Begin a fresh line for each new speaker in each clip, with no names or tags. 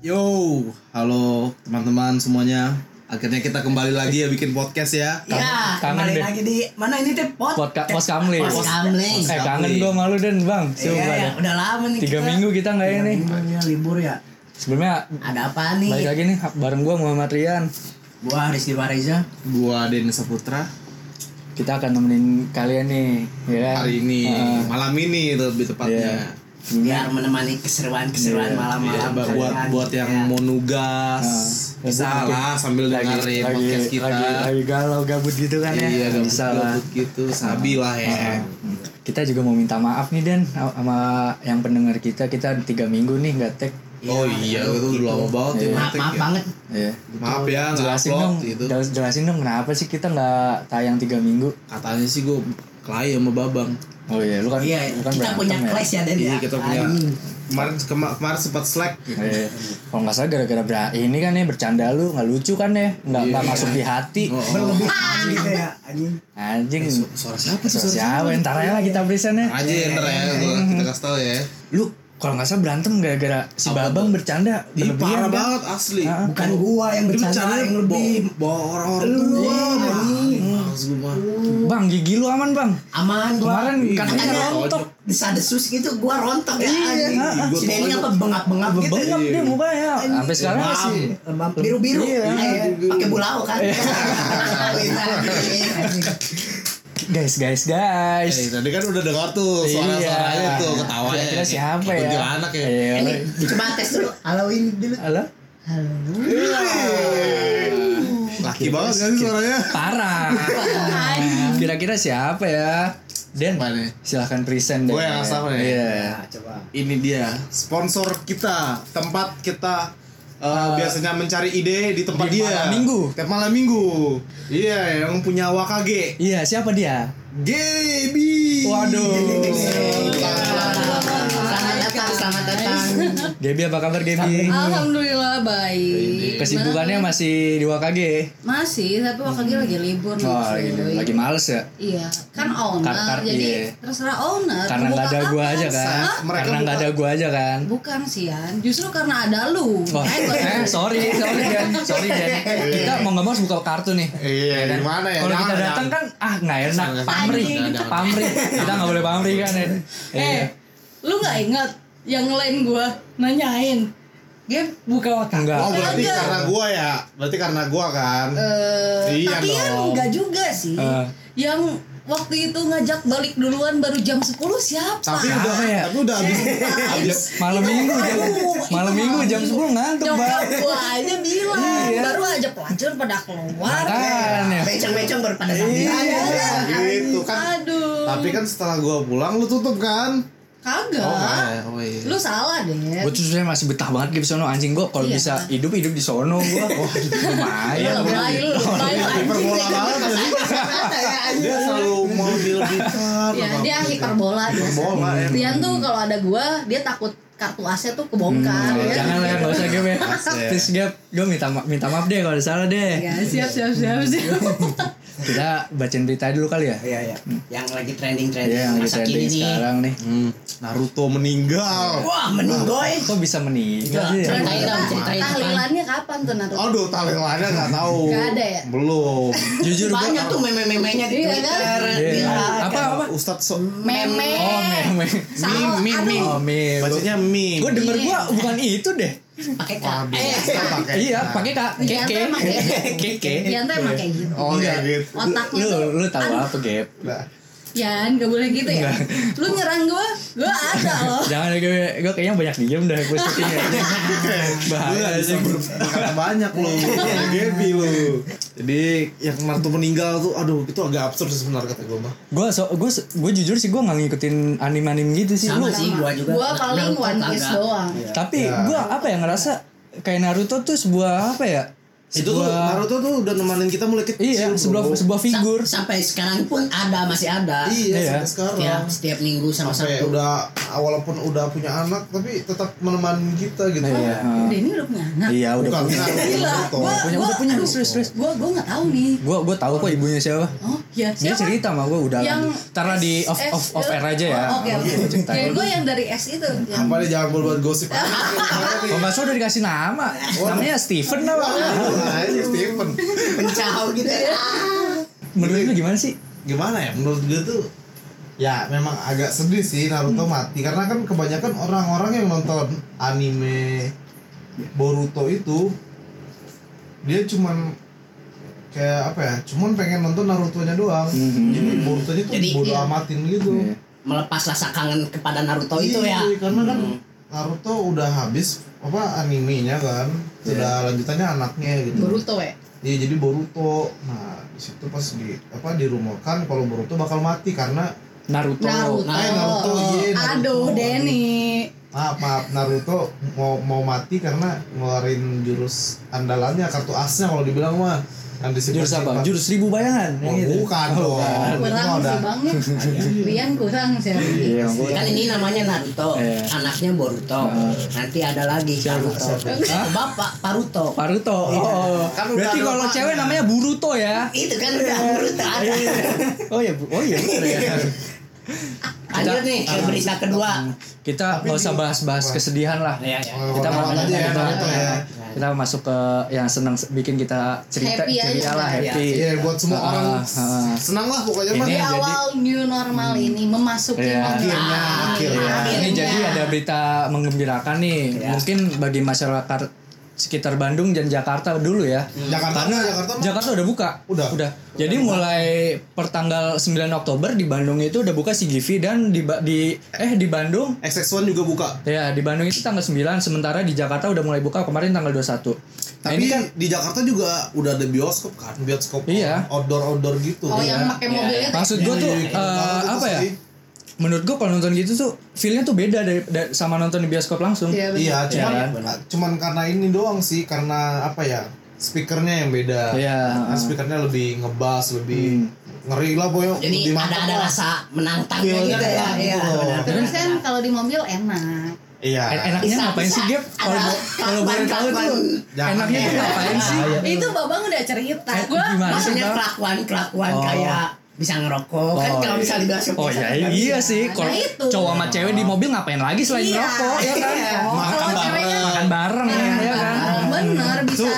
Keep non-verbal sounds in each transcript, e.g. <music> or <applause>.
Yo, halo teman-teman semuanya. Akhirnya kita kembali lagi ya bikin podcast ya.
Ya,
Kangen
kembali
deh.
lagi di mana ini teh pot?
Podcast Pos Kamling.
Pos Kamling.
Eh kangen gue malu dan bang.
Iya, ya,
Coba dah.
udah lama nih
Tiga
kita.
minggu kita nggak ya
Tiga
nih.
Iya.
minggu ya, libur ya.
Sebelumnya
Ada apa nih?
balik lagi nih bareng gue Muhammad Rian.
Gua Rizky Bareza.
Gua Denny Saputra.
Kita akan nemenin kalian nih, ya kan?
Hari ini
Heeh.
malam ini lebih
Iya.
tepatnya.
Biar menemani keseruan-keseruan
Iya,
Ya,
malam-malam.
buat buat,
kalian.
buat yang
Ya.
mau nugas
Nah,
bisa
lagi-
lah sambil dengerin podcast kita.
Lagi, lagi galau gabut gitu kan ya.
iya, gabut,
bisa lah.
gabut gitu, sabi lah ya.
Hmm. Kita juga mau minta maaf nih Den sama yang pendengar kita. Kita tiga minggu nih nggak tag.
Oh iya, itu udah lama banget ya.
Maaf,
ngetik
maaf
ya.
banget. Oh
Ya.
Maaf ya, nggak
Jelasin
upload
dong,
gitu.
jel- jelasin dong kenapa sih kita nggak tayang tiga minggu?
Katanya sih gue kelahi sama Babang.
Oh iya, lu kan
Iya,
lu kan
kita
berantem
punya
ya?
clash ya, Den.
Iya,
ya.
kita punya
Aduh.
kemarin kema- kemarin sempat slack.
Eh, kalau nggak salah gara-gara bra- ini kan ya bercanda lu nggak lucu kan ya nggak nggak
Iya.
masuk di hati
Oh, oh.
Berlebihan gitu ya, anjing.
anjing
Eh, Su- Suara siapa tuh?
Suara
Suara
siapa ntar aja lah kita berisannya
aja ya ntar ya gua kita kasih tau ya
lu kalau nggak salah berantem gara-gara si
Apa
babang
tuh?
bercanda
Ih,
berlebihan
parah
kan?
banget asli
Ah,
Bukan gua yang
Ini
bercanda
bercandanya
yang lebih.
bawa- bawa orang-orang
Lu,
tua
iya, anjing.
Males gua mah
bang gigi lu aman bang
Aman gua.
kemarin katanya
Katanya
rontok
Desadesus gitu gua rontok ya anjing.
ah, ah.
Si Denny apa bengap-bengap
Iya.
gitu.
bengap dia mukanya sampai sekarang
Demam.
masih
Lembab biru-biru
Iya.
Eh, pakai bulau kan
guys guys guys
Eh, tadi kan udah dengar tuh suara-suaranya
Iya.
tuh ketawanya
Kira-kira siapa ya
Kuntilanak ya
Iya.
ini coba tes dulu Halloween dulu
halo
Halloween
Laki banget kan suaranya
parah kira-kira siapa ya Den
Mana?
silahkan present Den.
Gua yang ya? Ah, asal nih.
Iya.
Nah, coba
Ini dia sponsor kita Tempat kita eh, biasanya mencari ide di tempat
di
dia
malam minggu.
Tiap malam minggu Iya yang punya WKG
Iya, siapa dia?
Gaby.
Waduh.
selamat datang selamat datang
Gaby apa kabar Gaby?
Alhamdulillah baik.
Kesibukannya masih di WKG.
Masih, tapi waktu lagi libur nih.
Oh,
cuy.
lagi, lagi males ya.
Iya, kan owner.
Kar- kar-
jadi
iya.
terserah owner.
Karena
mau
nggak ada
buka
gua
kapan,
aja kan.
Sa?
ah? Mereka
Karena
buka-
nggak ada gua aja kan.
Bukan sih Yan, justru karena ada lu.
Oh,
Makanya gua-
eh, sorry,
<laughs>
sorry Dan, sorry Dan.
Eh.
Kita mau nggak mau harus buka kartu nih.
Iya,
Ya kan?
gimana ya?
Kalau kita
Jangan,
datang
jangan.
kan ah nggak enak,
Jangan,
pamrih,
jangan, jangan.
pamrih. Kita nggak boleh pamrih kan Den.
Eh,
Iya.
lu nggak ingat yang lain gua nanyain dia buka waktu
Enggak.
Oh berarti
Kagak.
karena gua ya, berarti karena gua kan.
Eh,
Iya
tapi Yan
dong.
nggak juga sih.
Eh.
Yang waktu itu ngajak balik duluan baru jam 10 siapa?
tapi
Siapa
udah,
ya?
tapi udah habis.
<laughs> Habis
Malam minggu jam malam minggu jam 10 ngantuk
Nyokap
banget.
gua aja bilang
Iya.
Baru aja pelacur pada keluar
Kan ya.
Iya.
becong-becong berpada
Iya,
sambilan
gitu kan.
Aduh
Tapi kan setelah gua pulang lu tutup kan?
Kagak
eh, oh iya.
Lu salah deh
Gue tuh sebenernya masih betah banget di sono anjing gue kalau
Iya.
bisa hidup hidup di Iya, sono gue. Wah,
Iya,
lumayan.
Lu lebay lu lebay lu anjing
Oh, Hiperbola banget
<laughs>
jadi dia selalu mau dilebihkan.
Ya dia hiperbola dia
Bola ya.
Rian tuh kalau ada gua Dia takut kartu AC tuh kebongkar
Hmm,
ya.
Jangan lah, nggak usah game ya.
ya.
Terus Gap, gue minta ma- minta maaf deh kalau salah deh.
Ya, siap siap siap siap
Kita bacain berita dulu kali ya.
iya iya yang lagi
Iya,
trending-trending
yang lagi
masa
trending
kini nih
sekarang nih.
Hmm, Naruto meninggal.
wah meninggoy
Kok bisa menikah sih?
Ceritain dong,
Terus kita-
ceritain apaan?
Tahlilannya kapan tuh Naruto?
Aduh, talent-talentnya nggak tahu.
Nggak ada ya?
Belum.
Jujur gue.
banyak tuh meme-memenya di
Iya,
Twitter
kan?
di
Iya.
like.
Apa apa?
Ustadz so
Meme
Oh, meme.
Meme,
Salah,
meme.
aduh.
Oh, meme.
bacanya meme.
Gue denger gue bukan itu deh.
pakai K
Wah, biasa pakai.
Iya, pakai kak
Rian tuh
keke.
emang kayak
<laughs>
gitu.
Keke.
Rian tuh emang kayak gitu
Oh, ya gitu.
Otaknya tuh
Lu lu tahu
aduh.
apa, Gap?
Nah,
Yan, gak boleh gitu ya. Lu nyerang gua, gua ada loh.
Jangan gue gue kayaknya banyak diem dah gue syuting ya.
Lu
Bahaya Iya,
nggak bisa
sih.
Iya, berkata banyak
<laughs>
lu Kayak Gaby lu Jadi yang Naruto meninggal tuh Aduh itu agak absurd sih sebenarnya kata gue mah
Gue so, gue gue jujur sih gue nggak ngikutin anime anime gitu sih.
sama
Lu-
sih gua juga
Gua paling
Naruto
One Piece
Iya.
kagak.
doang.
Tapi
Ya.
gua apa ya ngerasa kayak Naruto tuh sebuah apa ya?
itu tuh
sebuah-
Naruto tuh udah nemanin kita mulai kecil
Iya, sebuah
bro.
sebuah
Sa-
figur.
sampai sekarang pun ada masih ada.
iya,
Iya.
sampai sekarang
Setiap, setiap minggu sama
sampai
Sabtu.
udah walaupun udah punya anak tapi tetap menemani kita gitu
Iya.
Udah ini udah punya anak.
Iya, udah
bukan
punya.
Gila,
Naruto.
gua
Punya, udah punya.
aduh,
Serius, serius.
Gua gua enggak tahu nih.
Gua gua tahu kok ibunya siapa.
Oh, ya
Dia
siapa?
cerita sama gua udah.
Yang
Ntar lah di
S-
off
S- Oh,
off off air aja ya.
Oke, oke.
Gua ceritain.
Kayak gue yang dari S itu. Yang
apa nih jangan buat gosip Nah, Apa nih?
Kalau nggak salah udah dikasih nama.
Oh.
Namanya Steven apa?
Nah, ini Steven
Pencau gitu ya.
Iya. Menurut lu gimana sih?
gimana ya menurut gue tuh ya memang agak sedih sih Naruto mati karena kan kebanyakan orang-orang yang nonton anime Boruto itu dia cuman kayak apa ya cuman pengen nonton Naruto-nya doang
Mhm.
jadi Boruto-nya tuh
Jadi,
bodo
iya.
amatin gitu
Iya.
Melepas rasa kangen kepada Naruto itu
Iya,
ya.
karena kan Naruto udah habis apa animenya kan sudah lanjutannya anaknya gitu
Boruto ya
Iya jadi Boruto. Nah di situ pas di apa dirumorkan kalau Boruto bakal mati karena
Naruto.
Naruto.
Nah, Naruto, iya, Naruto.
Aduh, Denny.
maaf maaf Naruto mau mau mati karena ngeluarin jurus andalannya kartu asnya kalau dibilang mah yang
Jurus apa? Jurus seribu bayangan.
Oh,
yang gitu.
bukan
Oh,
dong.
bukan.
Itu
Kurang
ada.
sih
<laughs>
banget. Rian kurang sih.
Iya, gua.
Kan ini namanya Naruto,
Iya.
anaknya Boruto. Nanti ada lagi Naruto. Bapak Paruto.
Paruto. Oh,
Kan udah
berarti
ada
kalau
lemaknya.
cewek namanya Buruto ya.
Itu kan udah Naruto
Iya.
ada.
<laughs> Oh ya, oh iya. bener
<laughs>
ya.
Lanjut nih
Iya.
ke berita kedua.
Kita nggak usah bahas-bahas kesedihan lah.
Iya, iya.
Kalau
Kita mau
orang aja ya
kita-
Naruto ya.
Kita masuk ke yang senang bikin kita cerita
Happy aja
cerita lah
sebenarnya.
happy.
Iya buat semua
Ah,
orang
ah.
senang lah pokoknya mah.
Di
Iya, jadi-
awal new normal ini
Hmm.
memasuki
Iya.
Akhirnya, akhirnya.
Nah, Ini jadi
ya.
ada berita menggembirakan nih.
Iya.
Mungkin bagi masyarakat sekitar Bandung dan Jakarta dulu ya.
Jakarta
Karena
Jakarta mah.
Jakarta udah buka.
Udah.
Udah. Jadi mulai pertanggal 9 Oktober di Bandung itu udah buka CGV dan di Ba- di eh di Bandung
XX1 juga buka.
ya di Bandung itu tanggal 9 sementara di Jakarta udah mulai buka kemarin tanggal 21. Nah,
Tapi
ini kan
di Jakarta juga udah ada bioskop kan, bioskop
Iya.
outdoor outdoor gitu.
Oh, yang pakai mobilnya tuh.
maksud gue tuh
Iya, iya.
eh, apa ya?
Sih.
Menurut gue kalau nonton gitu tuh feel-nya tuh beda dari, dari- sama nonton di bioskop langsung.
Iya, bener.
Iya, cuman
Iya kan?
cuman karena ini doang sih, karena apa ya? Speakernya yang beda.
Iya,
Nah,
heeh. Hmm.
speakernya lebih ngebas, lebih ngeri lah boy.
Jadi
lebih
ada
mantap
ada
lah.
rasa menantangnya
Feel-nya
gitu ya.
enak
Iya,
gitu loh.
benar.
Terus kan kalau di mobil enak.
Iya.
En- enaknya
Bisa,
ngapain
bisa.
sih Gap? Kalau
Ada
bo- kalau boleh tahu tuh
kelakuan- Iya.
Jangan. Iya.
enaknya ya? tuh ngapain
Ah,
sih?
Itu Babang udah cerita
Eh,
Gua
gimana sih
Maksudnya
Bang?
kelakuan kelakuan
Oh.
kayak bisa ngerokok kan
Oh,
kalau
iya.
misalnya di bioskop
Oh
biasa
ya
kan.
iya sih, kalau
Nah, itu.
cowok sama cewek di mobil ngapain lagi selain
Iya.
ngerokok ya kan?
Iya.
Makan
Kalau ceweknya Iya.
bareng.
Makan bareng ya kan?
Bener bisa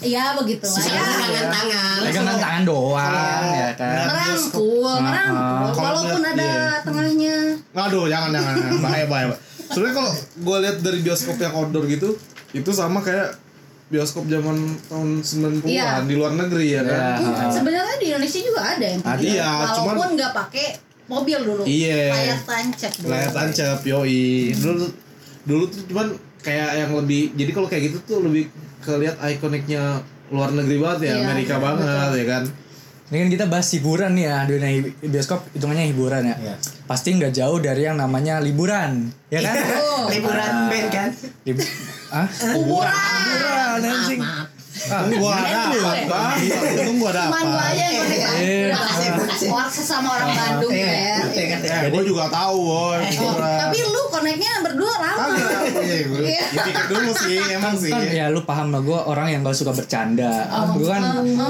Ya begitu lah
Misalnya
ya
pegangan tangan.
Pegangan tangan doang
Kalau-
ya kan?
Iya.
Merangkul Merangkul
Kalau
Walaupun
lihat-
ada
iya.
tengahnya
Aduh, jangan jangan, jangan.
<laughs>
bahaya bahaya. bahaya. Sebenarnya kalau gue lihat dari bioskop yang outdoor gitu, itu sama kayak bioskop zaman tahun 90-an
Iya.
di luar negeri ya kan.
Iya.
Hmm, Sebenarnya di Indonesia juga ada yang
Ada.
begitu.
Iya,
Walaupun
cuman-
nggak pakai mobil dulu
Iya.
Layar tancap dulu
layar tancap yoi dulu dulu tuh cuman kayak yang lebih jadi kalau kayak gitu tuh lebih kelihat ikoniknya luar negeri banget
Iya,
ya Amerika banget ya kan
Ini kan kita bahas hiburan nih ya, dunia hi- bioskop hitungannya hiburan ya.
Iya.
Pasti nggak jauh dari yang namanya liburan, ya kan?
Liburan band kan.
Lib- Hah?
Iya. Kuburan
Liburan anjing.
Maaf.
Ah,
untung gua ada apa bang untung gua ada
Iya, Cuman gua
apa
aja yang pakai
Iya.
tancap Orang sesama orang Bandung
Iya,
ya
iya, kan, iya.
eh gua juga tahu boy
Eh, Tapi lu koneknya berdua lama Iya.
dipikir dulu sih emang sih
kan ya lu paham lah gue orang yang gak suka bercanda
Oh,
gue kan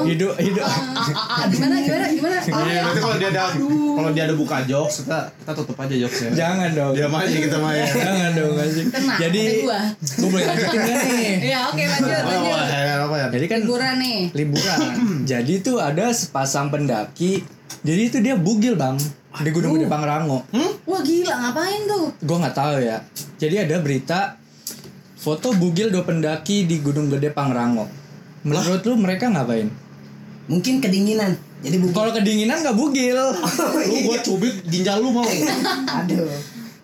hidup hidup
Ah, Gimana gimana gimana Oh,
Iya, nanti kalau dia ada kalau dia ada buka jokes kita kita tutup aja jokesnya
jangan dong
dia aja kita ya. main
jangan dong anjing
Tenang,
jadi
ada gua.
gue boleh lanjutin gak
<laughs>
nih
Iya oke lanjut
apa
lanjut
ya apa ya
jadi kan
Liburan nih <clears throat>
liburan jadi tuh ada sepasang pendaki jadi itu dia bugil bang di Gunung Gede Pangrango
Wah gila ngapain tuh
gue nggak tahu ya jadi ada berita foto bugil dua pendaki di Gunung Gede Pangrango menurut lu mereka ngapain
Mungkin kedinginan. Jadi bukan.
kalau kedinginan nggak bugil
<laughs>
lu gua cubit ginjal lu mau
<laughs>
Iya.
Aduh.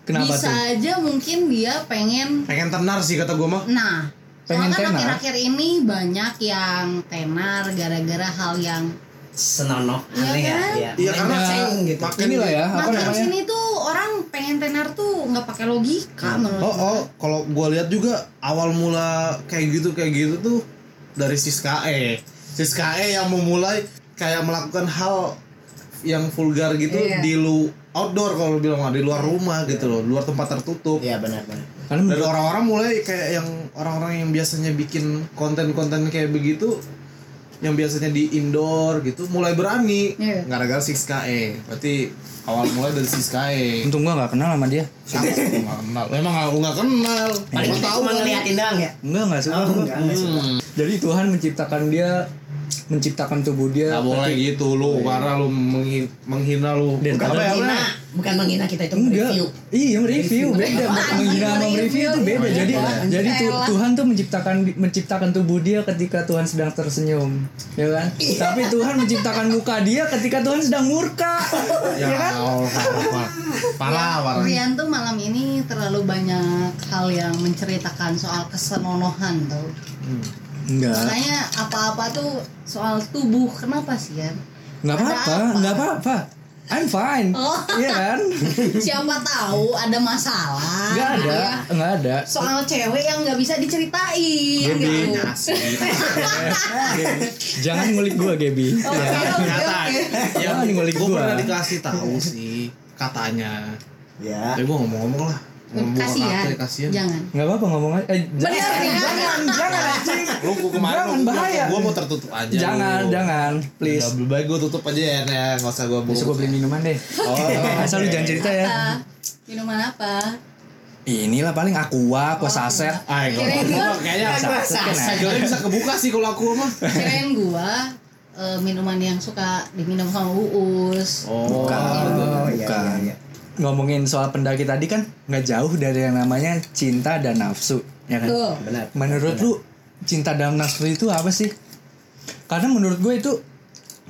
kenapa
Bisa
tuh
aja mungkin dia pengen
pengen tenar sih kata gua mah
Nah Soalnya kan
Pengen tenar?
akhir-akhir ini banyak yang tenar gara-gara hal yang
Senonoh
Iya
aneh ya.
kan?
Iya,
Main
karena-
ceng gitu.
Makin
inilah ya apa
makin
namanya
sini tuh orang pengen tenar tuh nggak pakai logika menurut
Oh, oh, kalau gua lihat juga awal mula kayak gitu kayak gitu tuh dari Siska E. Siska E yang memulai kayak melakukan hal yang vulgar gitu
Iya.
di lu outdoor kalau bilang ah, di luar rumah gitu loh, luar tempat tertutup.
Iya benar-benar.
Karena
Dan
menurut-
orang-orang mulai kayak yang orang-orang yang biasanya bikin konten-konten kayak begitu yang biasanya di indoor gitu mulai berani
Iya.
gara-gara 6KE. Berarti awal mulai dari E. 6KE.
untung gua nggak kenal sama dia.
Sama nggak kenal. Memang aku nggak kenal.
Paling
Nggak tahu
kita Iya. cuma
kan.
ngeliatin doang ya.
Enggak enggak suka.
Oh,
gua.
enggak, enggak suka.
Jadi Tuhan menciptakan dia menciptakan tubuh dia
Gak boleh
tapi-
gitu lu karena lu menghi- menghina lu.
Dan
Apa ya?
Menghina,
Apa?
bukan menghina kita itu
Enggak.
review.
Iya, mereview beda. Menghina sama mereview itu beda. Jadi jadi tu- Tuhan tuh menciptakan menciptakan tubuh dia ketika Tuhan sedang tersenyum, ya kan? Tapi Tuhan menciptakan muka dia ketika Tuhan sedang murka.
Ya Allah. Parah,
Oh.
parah.
Rian tuh malam ini terlalu banyak hal yang menceritakan soal kesenonohan tuh.
Enggak.
Makanya apa-apa tuh soal tubuh. Kenapa sih
<laughs>
ya?
Enggak apa-apa, enggak apa-apa. I'm fine.
Oh.
Iya kan?
Siapa tahu ada masalah.
Ah,
Enggak ada,
ya.
enggak ada.
Soal cewek yang nggak bisa
Iya,
Iya,
diceritain
Gini.
gitu.
Jangan ngulik gua, Gaby.
Oke, oke,
Ternyata
oke.
ya
Jangan ngulik
gue
gua.
Iya, pernah dikasih tahu sih katanya.
Ya.
Iya.
Tapi gue ngomong-ngomong lah.
Oh,
Ngomong
Kasihan.
apa ya, Kasihan.
Jangan.
Enggak apa-apa ngomong aja. Eh, jangan,
Iya.
jangan, jangan, anjing.
Lu gua kemarin
Jangan, bahaya.
Gue mau tertutup aja.
Jangan,
lu.
jangan, please.
Udah, lebih baik gue tutup aja ya, Ren, ya. Nggak usah gue
Besok gue beli minuman deh.
Oh,
<laughs> Asal lu jangan cerita ya.
Apa? Minuman apa?
Inilah paling aqua, aqua saset.
Ay, kalau
Kirain
gua
gua-
kayaknya
Saset kan enak.
segelnya bisa kebuka sih kalau aku mah.
Kirain gua eh, minuman yang suka diminum sama Uus.
Oh,
Oh, iya,
bukan.
iya, iya.
Ngomongin soal pendaki tadi kan nggak jauh dari yang namanya cinta dan nafsu, ya kan?
Tuh.
Benar.
Menurut lu cinta dan nafsu itu apa sih? Karena menurut gue itu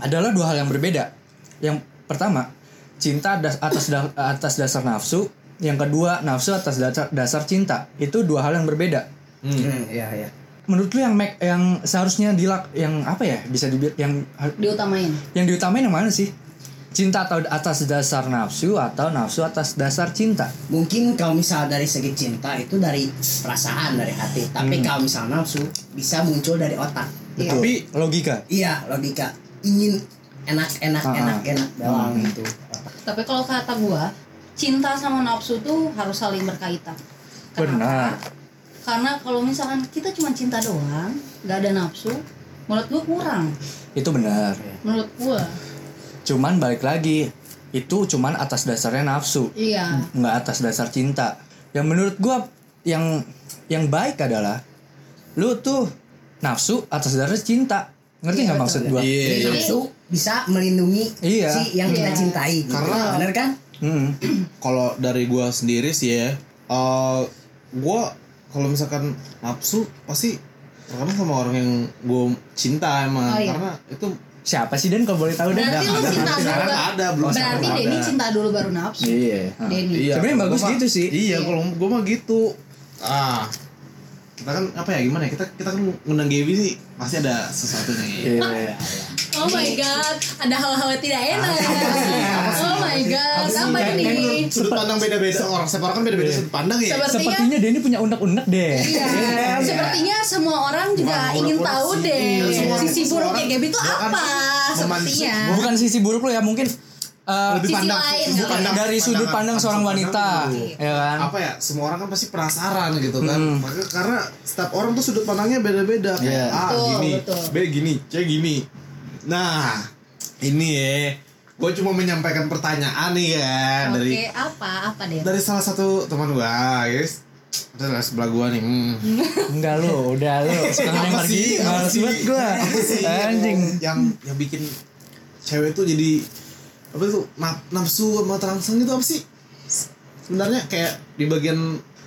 adalah dua hal yang berbeda. Yang pertama, cinta das- atas da- atas dasar nafsu, yang kedua nafsu atas dasar, dasar cinta. Itu dua hal yang berbeda.
Hmm, iya, iya.
Menurut lu yang make, yang seharusnya dilak yang apa ya? Bisa dibilang yang
Diutamain.
Yang diutamain yang mana sih? Cinta atau atas dasar nafsu atau nafsu atas dasar cinta?
Mungkin kalau misal dari segi cinta itu dari perasaan, dari hati.
Hmm.
Tapi kalau misal nafsu bisa muncul dari otak.
Iya.
Tapi logika.
Iya, logika. Ingin enak, enak,
Ah. Hmm.
enak, enak doang gitu.
Tapi kalau kata gua, cinta sama nafsu tuh harus saling berkaitan.
Benar.
Karena kalau misalkan kita cuma cinta doang, nggak ada nafsu, menurut gua kurang.
Itu benar.
Menurut gua,
Cuman balik lagi, itu cuman atas dasarnya nafsu,
iya.
nggak atas dasar cinta. Yang menurut gua yang yang baik adalah lu tuh nafsu atas dasar cinta. Ngerti nggak maksud
ya.
gua?
Iya.
Jadi-
Nafsu bisa melindungi
Iya.
si yang kita
Iya.
cintai. gitu.
Karena-
benar kan?
Mm.
Kalau dari gue sendiri sih ya, eh gue kalau misalkan nafsu pasti terkadang sama orang yang gue cinta emang
Oh, iya.
karena itu
Siapa sih Dan kalau boleh tahu Dan?
Berarti lu
Oh, ada,
cinta
ada,
dulu
ada,
baru-
ada, belum
Berarti
sama,
Denny
ada.
cinta dulu baru nafsu.
Iya. Ah.
Denny.
Sebenarnya
kalau
bagus
gua mah-
gitu sih.
Iya,
Iya.
kalau gue mah gitu. Ah, kita kan apa ya gimana ya kita kita kan ngundang Gaby sih pasti ada sesuatu nih.
Iya.
Oh my god, ada hal-hal tidak enak. Oh my god, apa
Apa sih?
ini?
Sudut pandang beda-beda orang setiap orang kan beda-beda
Iya.
sudut pandang ya.
Sepertinya
Sepertinya Denny punya unek-unek deh.
Iya. Sepertinya semua orang juga
Bukan
ingin
buruk-buruk
tahu
sih.
deh
Iya, semua-
sisi
semua
buruknya
orang-
Gaby itu
Dia kan
apa
memansu-
sepertinya.
bukan sisi buruk lo ya mungkin eh,
lebih
sisi
pandang,
lain,
sudut
gitu.
pandang
dari sudut pandang
pandangan-
seorang
sudut
wanita
pandang dulu.
ya kan
apa ya semua orang kan pasti penasaran gitu kan
Hmm.
Maka, karena setiap orang tuh sudut pandangnya beda-beda kayak
Iya.
A
Betul,
gini
betul.
B gini C gini nah ini ya gue cuma menyampaikan pertanyaan nih ya dari
Oke, apa apa deh?
dari salah satu teman gua guys adalah sebelah gua nih hmm.
enggak lo udah lo sekarang yang
Apa
pergi
sih? Apa
males
sih?
banget gua
Apa
<laughs>
sih Iya, yang-
anjing
yang yang bikin cewek tuh jadi apa itu na- nafsu sama terangsang itu apa sih sebenarnya kayak di bagian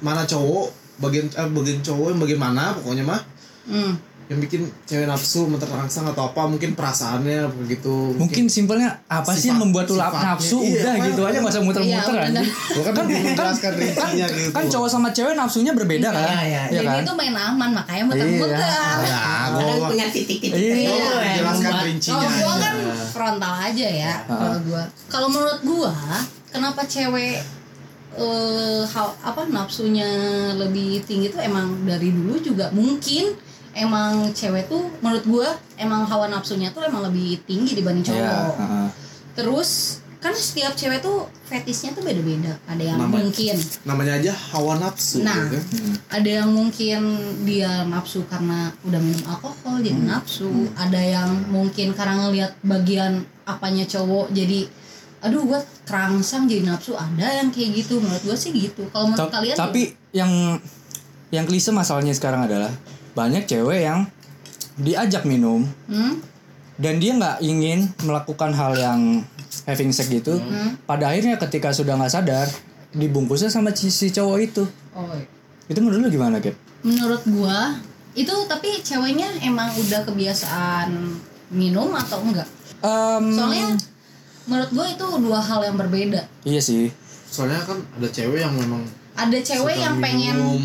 mana cowok bagian eh, bagian cowok yang bagian mana pokoknya mah
Hmm.
yang bikin cewek nafsu sama terangsang atau apa mungkin perasaannya apa gitu
mungkin simpelnya apa sih yang
Sifat-
membuat lu lap
sifatnya.
nafsu
Iya,
udah
makanya-
gitu aja nggak usah muter-muter
Iya,
anjing
Gua kan belum menjelaskan rincinya gitu
kan cowok sama cewek nafsunya berbeda kan
Iya, iya,
ya
Denny
kan
itu main aman makanya muter-muter.
ya
Kadang
gua
punya titik-titik
Iya.
tertentu
gua
yang
menjelaskan
membuat-
rincinya
Kalau gua
aja.
kan frontal aja ya kalau gua. Kalau menurut gua, kenapa cewek eh hal- apa nafsunya lebih tinggi itu emang dari dulu juga mungkin emang cewek tuh menurut gua emang hawa nafsunya tuh emang lebih tinggi dibanding cowok.
Iya, heeh.
Terus kan setiap cewek tuh fetisnya tuh beda-beda. Ada yang
Namanya.
mungkin
namanya aja hawa nafsu
Nah.
ya kan?
ada yang mungkin dia nafsu karena udah minum alkohol jadi nafsu. Ada yang mungkin karena ngelihat bagian apanya cowok jadi aduh gua kerangsang jadi nafsu. Ada yang kayak gitu menurut gua sih gitu. Kalau menurut
Ta-
kalian
tapi yang yang klise masalahnya sekarang adalah banyak cewek yang diajak minum
Hmm?
dan dia nggak ingin melakukan hal yang having sex gitu.
Hmm.
Pada akhirnya ketika sudah nggak sadar dibungkusnya sama si, si cowok itu.
Oh, iya.
Itu menurut lu gimana, Gap?
menurut gua itu tapi ceweknya emang udah kebiasaan minum atau enggak
Em,
soalnya menurut gua itu dua hal yang berbeda
iya sih.
soalnya kan ada cewek yang memang
ada cewek
suka
yang pengen
minum,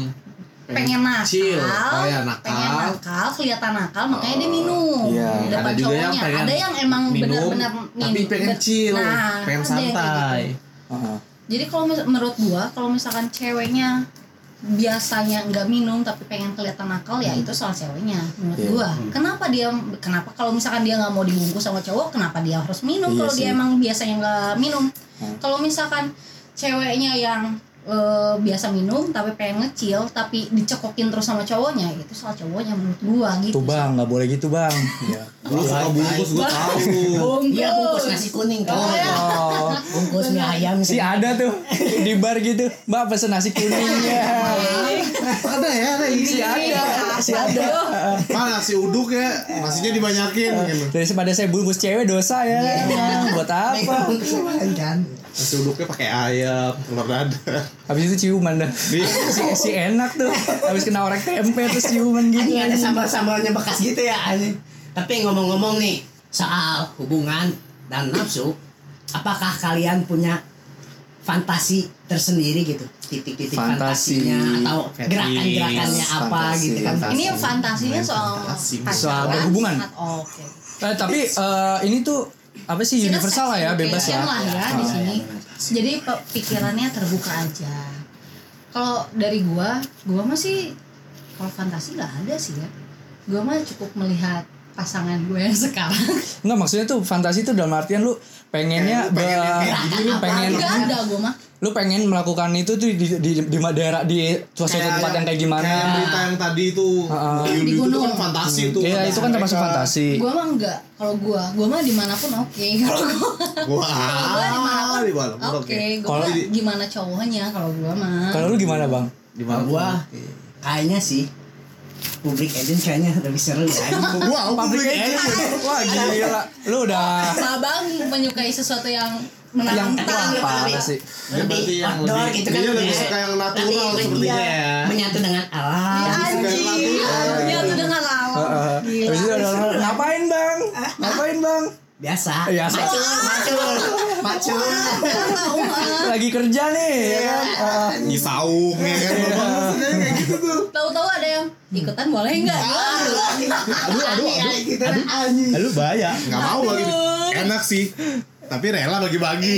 pengen nakal,
chill, oh ya, nakal. Oh,
pengen nakal, kelihatan nakal, makanya dia minum
Iya.
di depan
Ada juga yang
cowoknya.
pengen
ada yang emang
minum,
benar-benar
tapi
minum.
pengen
Bet-
chill
Nah,
pengen
ada yang kayak
santai
gitu.
Heeh.
Jadi kalau mis- menurut gua, kalau misalkan ceweknya biasanya nggak minum tapi pengen kelihatan nakal ya itu soal ceweknya menurut
Iya.
gua. Kenapa dia kenapa kalau misalkan dia nggak mau dibungkus sama cowok, kenapa dia harus minum
Iya
kalau dia
sih. Hmm.
emang biasanya nggak minum? Kalau misalkan ceweknya yang eh, biasa minum tapi pengen ngecil tapi dicekokin terus sama cowoknya ya itu soal cowoknya menurut gua gitu.
Tuh bang, nggak boleh gitu bang. Iya.
Gua suka bungkus gua tahu
Iya bungkus
Bungkus.
nasi kuning kan.
Oh,
Bungkus mie ayam gitu.
si ada tuh di bar gitu. Mbak pesen nasi kuningnya.
<laughs> ada ya ada
Si
Iya.
ini
ada, si ada.
ah nasi uduk ya nasinya dibanyakin gitu.
Daripada saya bungkus cewek dosa ya.
Iya.
Buat apa?
Iya, Bungkus apaan kan.
nasi uduknya pakai ayam telur dadar
Habis itu ciuman dah.
Iya.
si, si enak tuh. Habis kena orek tempe terus ciuman gitu.
Anjing
Iya,
ada sambal-sambalnya bekas gitu ya anjing. Tapi ngomong-ngomong nih soal hubungan dan nafsu, apakah kalian punya fantasi tersendiri gitu? Titik-titik
Fantasi,
fantasinya atau
fetish,
gerakan-gerakannya apa
fantasi,
gitu kan?
fantasi.
Ini fantasinya soal
Fantasi.
pacaran
Soal berhubungan.
atau- Oh, Oke.
Eh, tapi eh, ini tuh apa sih
Kita
universal lah ya,
sex
bebas
education
Iya,
ya.
lah ya di sini. Jadi pe- pikirannya terbuka aja. Kalau dari gua, gua masih kalau fantasi nggak ada sih ya. Gua mah cukup melihat pasangan gue yang sekarang.
Enggak maksudnya tuh fantasi tuh dalam artian lu pengennya
Kayak Eh, lu pengennya kayak
ber- <laughs>
gitu. gini, lu
pengen
Nggak ada gua mah.
lu pengen melakukan itu tuh di di di daerah di
Oh,
suatu tempat yang kayak gimana.
kayak berita yang tadi itu
Heeh.
Di Yudi itu kan
gunung.
fantasi tuh
Iya, itu kan termasuk fantasi.
Gua mah enggak. Kalau gua, gua mah dimanapun oke. <laughs> Kalau gua,
gua
kalau gua dimanapun
Ah, di malam
oke. Gua
Kalau
mah
di-
gimana cowoknya kalau gua mah.
Kalau lu gimana, Bang?
di
Kalau gua kayaknya sih public agent kayaknya lebih seru ya.
<laughs>
anjing.
gua aku
Public
beli
enemy. <laughs> Wah, gila. Lu udah
Abang menyukai sesuatu yang
yang
menantang.
ya.
wah, parah sih.
Dia berarti Iya,
Lebih
yang
outdoor
lebih-
gitu kan.
dia lebih
ya.
suka yang natural
Tapi dia
sepertinya
Iya.
Iya. ya.
Menyatu dengan alam.
Anjing, ya tuh dengan lawan.
Heeh. Eh, Habis itu ada orang, ngapain, Bang? Ngapain, Bang?
Biasa.
Iya, biasa.
Macul, macul, macul.
Lagi kerja nih, ya kan?
Iya.
Heeh.
nyisaung ya kan Bapak, kayak gitu tuh
Tahu-tahu ada yang
Hmm.
ikutan boleh nggak?
<laughs>
Ah.
aduh
Iya,
aduh aduh
eh.
Eh, Lu bahaya, nggak mau lagi. Enak sih, tapi rela bagi-bagi.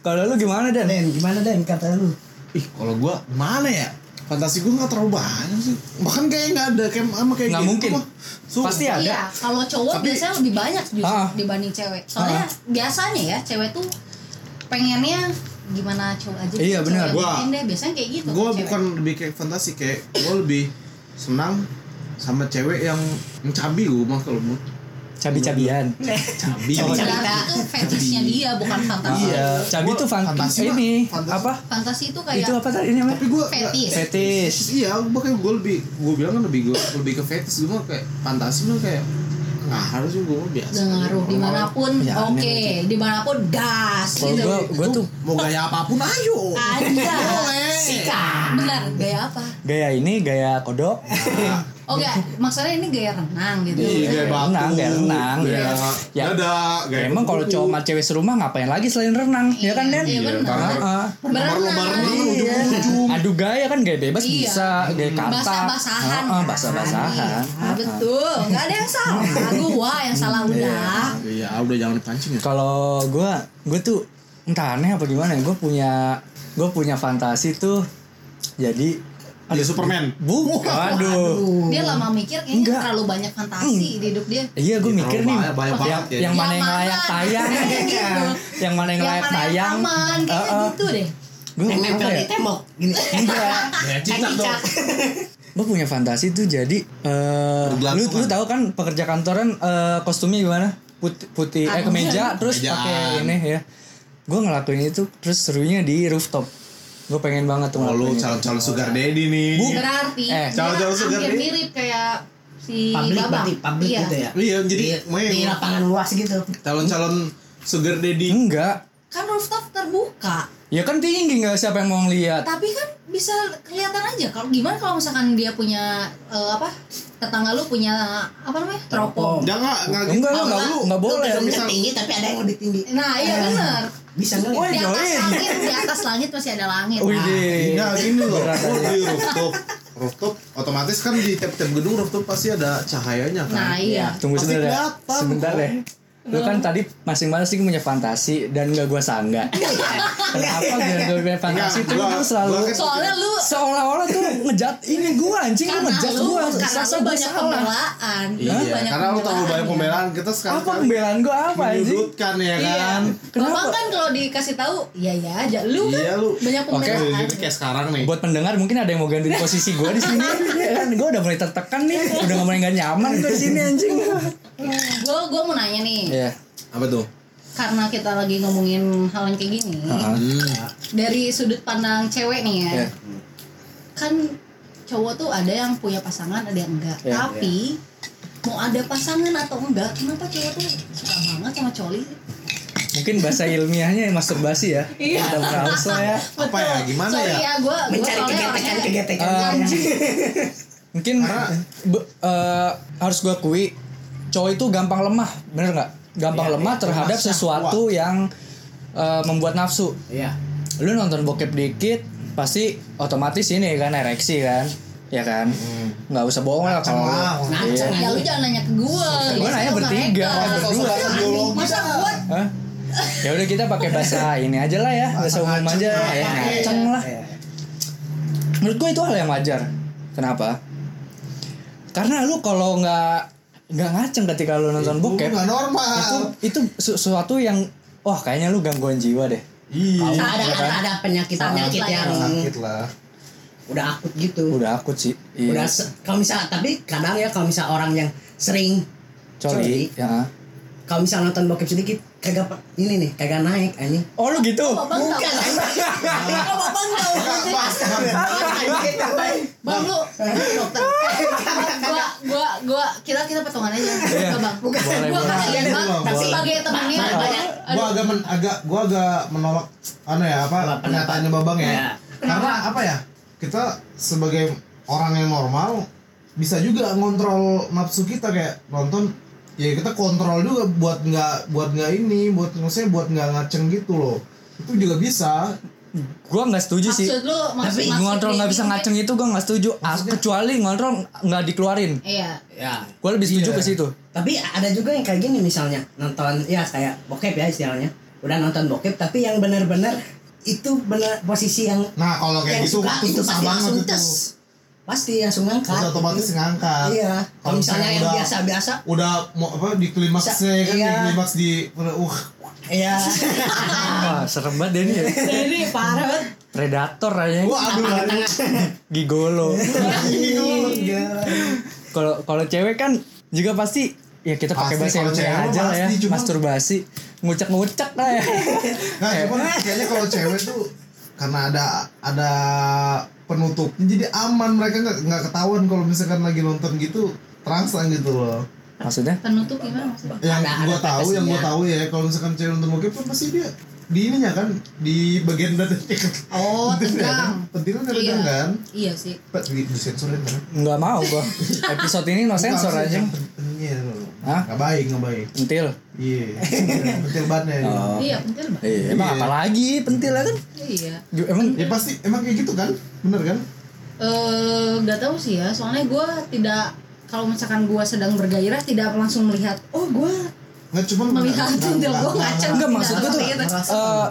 Kalau lu gimana, Dan?
Den, gimana Den kata lu?
Ih, kalau gua mana ya? Fantasi gua nggak terlalu banyak sih. Bahkan kayak nggak ada kayak sama kayak
Nggak
gitu
mungkin.
mah. Sumpah.
Pasti ya. ada.
Iya, kalau cowok
Tapi-
biasanya lebih banyak justru
Ah.
dibanding cewek. Soalnya biasanya ya cewek tuh pengennya gimana cowok aja. gitu,
Iya,
cewek
benar.
yang
Gua-
bikin deh. Biasanya kayak gitu.
Gua
tuh cewek.
bukan lebih kayak fantasi kayak gua lebih senang sama cewek yang mencabi gua mah kalau gua
Cabi-cabian.
cabi.
Cowok
Nah,
cerita.
itu
gitu.
fetishnya dia
Ah.
bukan fantasi.
Iya.
Cabi
Gua
tuh
fantasi
fantasi
mah,
ini
fantasi.
apa?
Fantasi itu kayak
Itu apa tadi ini namanya?
Tapi gua nggak-
fetish.
Fetish.
Iya, makanya gue lebih gue bilang kan lebih gue lebih ke fetish gue mah kayak fantasi mah kayak nggak harus gue biasa.
Gak ngaruh
aja.
dimanapun
Ya,
oke
aneh.
dimanapun gas
Kalau
gitu
gua gua tuh
mau gaya apapun ayo.
ada
Sikat.
benar gaya apa
gaya ini gaya kodok.
oh gak maksudnya ini gaya renang gitu
Iya, gaya
Iya. Gaya
batu,
renang, gaya renang.
gaya
Ya.
dada, gaya
Emang kalau cowok sama cewek serumah ngapain lagi selain renang, ya kan Den?
Iya, benar.
Heeh.
berenang, lomba renang kan
Iya.
ujung-ujung.
Adu gaya kan gaya bebas
Iya.
bisa, gaya kata.
basah-basahan
Heeh,
kan?
basah-basahan. Hmm.
Iya, betul nggak ada yang salah gua yang salah udah
Iya, udah jangan dipancing ya.
Kalau gue, gue tuh ya, entah aneh apa gimana. Gue punya, gue punya fantasi tuh. Jadi
Jadi Superman.
Bukan. Waduh.
Dia lama mikir kayaknya
Enggak.
terlalu banyak fantasi di hidup dia.
Iya gue mikir nih.
Banyak, banyak banget ya.
Yang mana yang
Yang
layak
mana?
tayang? Iya.
Gitu.
Yang mana yang layak
mana
tayang?
aman, kayaknya
Heeh.
gitu deh.
Gue
Yang
apa
nempel
ya?
di tembok gini.
Enggak.
Ya, cicak dong.
Cicak.
Gue Iya. punya fantasi tuh jadi eh lu
Bergelantungan.
lu tahu kan pekerja kantoran eh, kostumnya gimana? Putih, putih eh, kemeja terus
Kemejaan.
pakai ini ya. Gue ngelakuin itu terus serunya di rooftop. Gue pengen banget tuh
Oh, lu
ngelakuin itu.
calon-calon sugar daddy nih.
Bu.
Berarti
Eh,
dia
jauh-jauh segar
hampir
nih.
mirip kayak si
Public
Babang.
berarti public
iya.
gitu ya.
Iya, jadi
di,
main.
di lapangan luas gitu.
Calon-calon sugar daddy.
Enggak.
Kan rooftop terbuka,
Ya kan tinggi nggak siapa yang mau ngeliat
tapi kan bisa kelihatan aja kalau gimana kalau misalkan dia punya eh, apa? Tetangga lu punya apa namanya? teropong.
Jangan enggak gitu.
Enggak, lu enggak,
lu.
enggak boleh.
Yang
Misal-
tinggi tapi ada yang lebih tinggi.
Nah, iya
Eh.
benar.
Bisa
Oh,
Di
ngeliat.
atas
jauhin.
langit, di atas langit masih ada langit.
Wih,
Nah,
deh.
Nah, gini loh.
Iya, Berat,
Lu
berat.
di rooftop. Rooftop otomatis kan di tiap-tiap gedung rooftop pasti ada cahayanya kan.
Nah, iya.
Tunggu
Pasti
sebentar ya.
kelihatan,
Sebentar
kok.
ya. Lu
Nah.
kan tadi masing-masing punya fantasi dan gak gua
<laughs>
sangga.
Iya.
Kenapa biar gue punya fantasi
Enggak,
tuh
gua-
lu selalu
gua kan-
Soalnya lu
seolah-olah tuh ngejat ini gua anjing lu
karena
ngejat
lu
gua.
karena
Sasa
lu
gua
banyak
salah.
pembelaan.
Iya,
Lu banyak
karena lu tahu banyak pembelaan kita sekarang kan
Apa pembelaan gua apa anjing?
menyudutkan
Iya.
ya kan.
Abang kan kalau dikasih tahu, iya iya aja. Lu kan
Iya, lu.
banyak pembelaan.
Jadi kayak sekarang nih.
Buat pendengar mungkin ada yang mau gantiin posisi gua di
<laughs>
sini. Ya kan gua udah mulai tertekan nih, udah nggak mulai nggak nyaman gua di sini anjing.
Gue gue mau nanya nih,
Iya.
Apa tuh?
karena kita lagi ngomongin hal yang kayak gini,
Heeh.
Hmm.
dari sudut pandang cewek nih ya,
Ah. Iya.
kan cowok tuh ada yang punya pasangan, ada yang enggak.
Iya,
Tapi mau ada pasangan atau enggak, kenapa cowok tuh suka banget sama coli?
Mungkin bahasa ilmiahnya masturbasi ya. Iya. Kita merasa ya.
Apa ya? Gimana
Sorry
ya?
ya, gue gue
Mencari kegetekan
gitu.
kegetekan.
Ah, iya.
mungkin be- eh, harus gue akui cowok itu gampang lemah bener nggak gampang lemah terhadap sesuatu yang eh, membuat nafsu
Iya.
lu nonton bokep dikit pasti otomatis ini kan ereksi kan ya kan nggak usah bohong lah kalau
lah,
lu-
ngaceng.
Iya.
Ya lu jangan nanya ke gue.
Gua nanya bertiga, berdua.
Masa gue
Hah? ya udah kita pakai bahasa ini aja lah ya bahasa umum aja ya ngaceng lah
Iya.
menurut gue itu hal yang wajar kenapa karena lu kalau nggak nggak ngaceng ketika lu nonton bokep
Bukan normal.
itu itu sesuatu yang wah kayaknya lu gangguan jiwa deh
Iya.
Ada ada ada penyakit penyakit
Sakit
yang
ya.
Sakit lah.
udah akut gitu.
udah akut sih iya.
Udah se- kalau misal tapi kadang ya kalau misal orang yang sering
coli ya.
kalau misal nonton bokep sedikit kagak pe- ini nih kagak naik
<laughs>
anjing.
oh lu gitu
Bukan
<laughs>
anjing. Kok Bapak tahu?
Bang lu, lu dokter. <laughs> gua gua gua kita kita potongan aja. Enggak, Bang. Iya. Bukan.
Boleh,
Gua
boleh.
kasihan
Gitu,
banget
Bang, boleh.
sebagai temannya
Boleh,
banyak.
Gua agak men, agak gua agak menolak anu ya apa
Pendapat.
pernyataannya Babang ya.
Iya.
Karena apa ya? Kita sebagai orang yang normal bisa juga ngontrol nafsu kita kayak nonton ya kita kontrol juga buat nggak buat nggak ini buat maksudnya buat nggak ngaceng gitu loh itu juga bisa
<laughs> gua nggak setuju sih
Maksud lu maksud
Tapi
maksud
ngontrol nggak
di-
bisa ngaceng itu gua nggak setuju As- kecuali ngontrol nggak dikeluarin
Iya.
Ya.
gua lebih setuju
Iya.
ke situ
Tapi ada juga yang kayak gini misalnya nonton ya kayak bokep ya istilahnya. Udah nonton bokep tapi yang benar-benar itu benar posisi yang
nah kalau kayak
yang
gitu
Iya, suka
waktu
itu
susah
pasti
banget
langsung
itu
tes. Pasti langsung ngangkat.
Terus otomatis ngangkat
Iya. Kalau misalnya yang
udah-
biasa-biasa
udah mau apa di klimaksnya
Sa-
kan
iya.
di klimaks di uh
ya.
wah serem banget Denny ya
<laughs> Jadi parah banget.
predator aja
wah aduh aduh.
gigolo kalau kalau cewek kan juga pasti ya kita pakai
Pasti,
bahasa
kalau
ilmiah
cewek
aja lah ya
pasti, cuma-
masturbasi ngucek-ngucek lah
<laughs>
ya
Nah, cuman kayaknya kalau cewek tuh karena ada ada penutup jadi aman mereka nggak nggak ketahuan kalau misalkan lagi nonton gitu terangsang gitu loh
maksudnya
Penutup gimana maksudnya?
yang
Ada-
gua
ada
tahu yang gua
batasnya.
tahu ya kalau misalkan cewek nonton bokep kan pasti dia di ininya kan di bagian dada kan. <laughs>
Oh, tegang.
pentilnya ada
Iya.
tegang kan
Iya sih.
Pak, di disensorin kan
nggak mau
<laughs>
gua episode ini no Oh, sensor
Bukan,
aja
yang pentilnya loh.
Hah?
nggak baik nggak baik
pentil <laughs>
iya pentil ya. bannya
Oh.
Iya, pentil Bang.
Iya, emang apa lagi pentil lah kan
Iya.
Ju- emang
ya pasti emang kayak gitu kan bener kan
Eh, nggak tahu sih ya. Soalnya gue tidak kalau misalkan gue sedang bergairah tidak langsung melihat, oh gue
nggak cuma
melihat pentil gue ngaceng.
enggak maksud
Tidak,
gua tuh
seperti itu.
eh,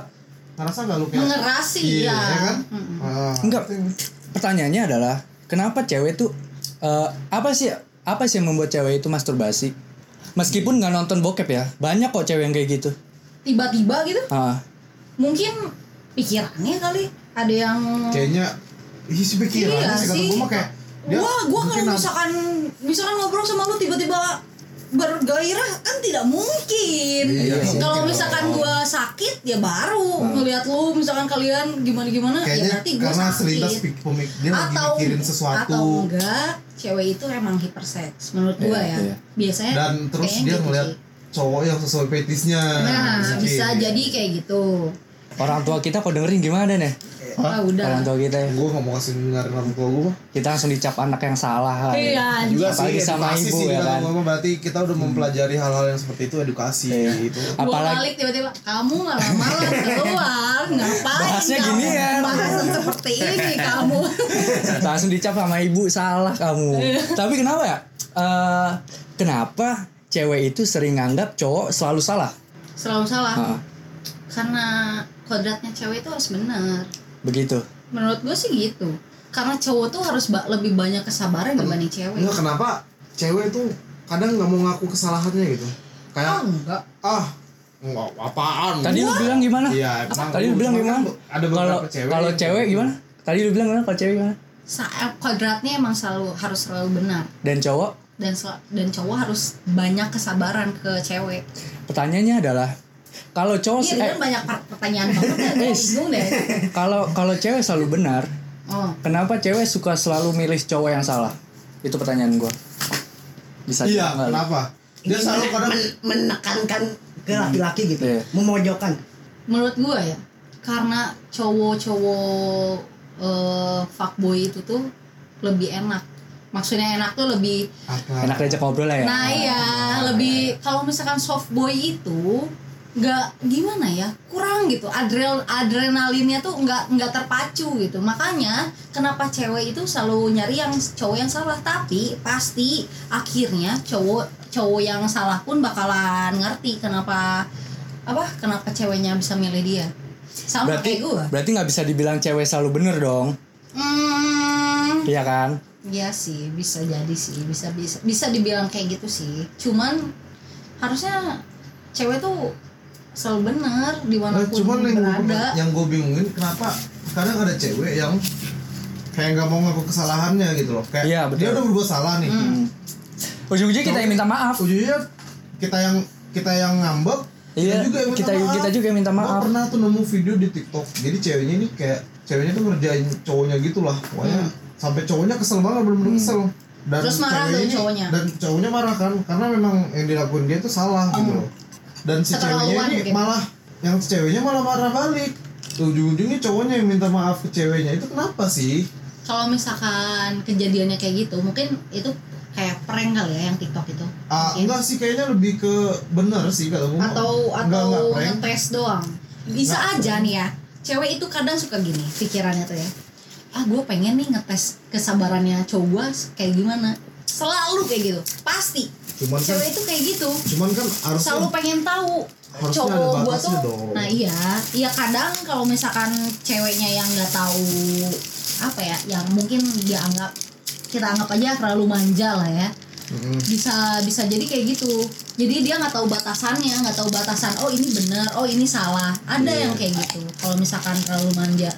ngerasa nggak lu kayak
mengerasi
Iya,
ya.
kan?
Mm-mm.
Ah,
Enggak. pertanyaannya adalah kenapa cewek tuh eh, apa sih apa sih yang membuat cewek itu masturbasi? Meskipun nggak nonton bokep ya, banyak kok cewek yang kayak gitu.
tiba-tiba gitu
Ah,
mungkin pikirannya kali ada yang
Kayaknya Ih si pikiran
Iya
gitu ya, sih kata
sih.
gue mah kayak dia
wah gua
mungkin apa-
kalau misalkan misalkan ngobrol sama lu tiba-tiba bergairah kan tidak mungkin
Iya sih.
kalau
Mungkin
misalkan
dong. Nah.
gua sakit ya baru ngelihat lu misalkan kalian gimana gimana ya
Kayaknya
berarti gua
karena selintas
sakit
pik- pemik dia lagi
atau
mikirin sesuatu
atau enggak cewek itu emang hiperseks menurut
Iya,
gua ya
iya.
biasanya
dan terus
kayaknya
dia
gitu
ngeliat eh,
sih.
cowok yang sesuai fetisnya.
nah
Mungkin.
bisa jadi kayak gitu
orang tua kita kok dengerin gimana nih?
ah udah
Orang tua kita ya.
Gue nggak mau kasih dengerin orang tua gue.
Kita langsung dicap anak yang salah. kali.
Iya,
juga
Apalagi sama
edukasi
ibu,
sih,
ya
kita
kan?
ngomong, berarti kita udah mempelajari hal-hal yang seperti itu edukasi
Iya.
gitu
Gua
Apalagi
balik tiba-tiba kamu malam-malam keluar ngapain
Bahasnya
kamu?
gini ya.
bahasan seperti ini kamu <laughs>
langsung dicap sama ibu salah kamu
Iya.
tapi kenapa ya Eh, kenapa cewek itu sering nganggap cowok selalu salah
selalu salah
Ah,
karena kodratnya cewek itu harus benar
begitu
menurut gue sih gitu karena cowok tuh harus ba- lebih banyak kesabaran dibanding cewek
Enggak kenapa cewek tuh kadang nggak mau ngaku kesalahannya gitu
oh
kayak
enggak
ah nggak apaan
tadi lu bilang gimana
Iya, emang.
tadi lu bilang
Cuman
gimana
kan ada beberapa
kalau
cewek
kalau
yang- gitu.
cewek gimana tadi lu bilang gimana kalau cewek gimana
Sa- kodratnya emang selalu harus selalu benar
dan cowok
dan sel- dan cowok harus banyak kesabaran ke cewek
pertanyaannya adalah kalau cowok
iya
se-
dengan banyak per- pertanyaan banget ya gue bingung deh
eh, kalau kalau cewek selalu benar
oh
kenapa cewek suka selalu milih cowok yang salah itu pertanyaan gua bisa
iya
jawab nggak lu?
kenapa dia
Ini
selalu
men-
kadang
men- menekankan ke laki-laki gitu
Iya.
memojokkan
menurut gua ya karena cowok-cowok eh, fuckboy itu tuh lebih enak maksudnya enak tuh lebih
akal
enak diajak ngobrol lah ya
nah ya lebih kalau misalkan soft boy itu nggak gimana ya kurang gitu adrenal adrenalinnya tuh nggak nggak terpacu gitu makanya kenapa cewek itu selalu nyari yang cowok yang salah tapi pasti akhirnya cowok cowok yang salah pun bakalan ngerti kenapa apa kenapa ceweknya bisa milih dia sama
berarti
kayak gue
berarti nggak bisa dibilang cewek selalu bener dong
hmm,
Iya kan?
Iya sih, bisa jadi sih, bisa bisa bisa dibilang kayak gitu sih. Cuman harusnya cewek tuh selalu benar
Nah,
dimanapun
cuman yang ya. gue,
berada.
yang gue bingungin kenapa kadang ada cewek yang kayak nggak mau ngaku kesalahannya gitu loh kayak
Iya,
dia
betul.
udah berbuat salah nih
Ujung-ujungnya kita yang minta maaf.
ujungnya ya? kita yang kita yang ngambek
Iya, kita- kita juga yang minta maaf.
Gua pernah tuh nemu video di TikTok jadi ceweknya ini kayak ceweknya tuh ngerjain cowoknya gitu lah pokoknya
Hmm.
sampai cowoknya kesel banget bener-bener kesel dan
Terus marah
ceweknya
tuh
ini-
cowoknya.
dan cowoknya marah kan karena memang yang dilakuin dia tuh salah
Hmm.
gitu loh dan si
Keterlaluan
ceweknya ini
mungkin.
malah yang si ceweknya malah marah balik ujung-ujungnya cowoknya yang minta maaf ke ceweknya itu kenapa sih
Kalau misalkan kejadiannya kayak gitu, mungkin itu kayak prank kali ya yang TikTok itu.
Ah,
Mungkin.
enggak sih kayaknya lebih ke bener sih kalau gua.
atau
Enggak,
atau
enggak, prank.
ngetes doang bisa aja nih ya cewek itu kadang suka gini pikirannya tuh ya ah gue pengen nih ngetes kesabarannya cowok gue kayak gimana selalu kayak gitu pasti
cuman kan
cewek itu kayak gitu
cuman kan harusnya
selalu pengen tahu
Harusnya ada
cowok gue
batasnya
tuh
dong.
nah iya iya kadang kalau misalkan ceweknya yang nggak tahu apa ya yang mungkin dia anggap kita anggap aja terlalu manja lah ya
Mm-mm.
bisa bisa jadi kayak gitu jadi dia nggak tahu batasannya nggak tahu batasan oh ini benar oh ini salah ada
Iya.
yang kayak gitu kalau misalkan terlalu manja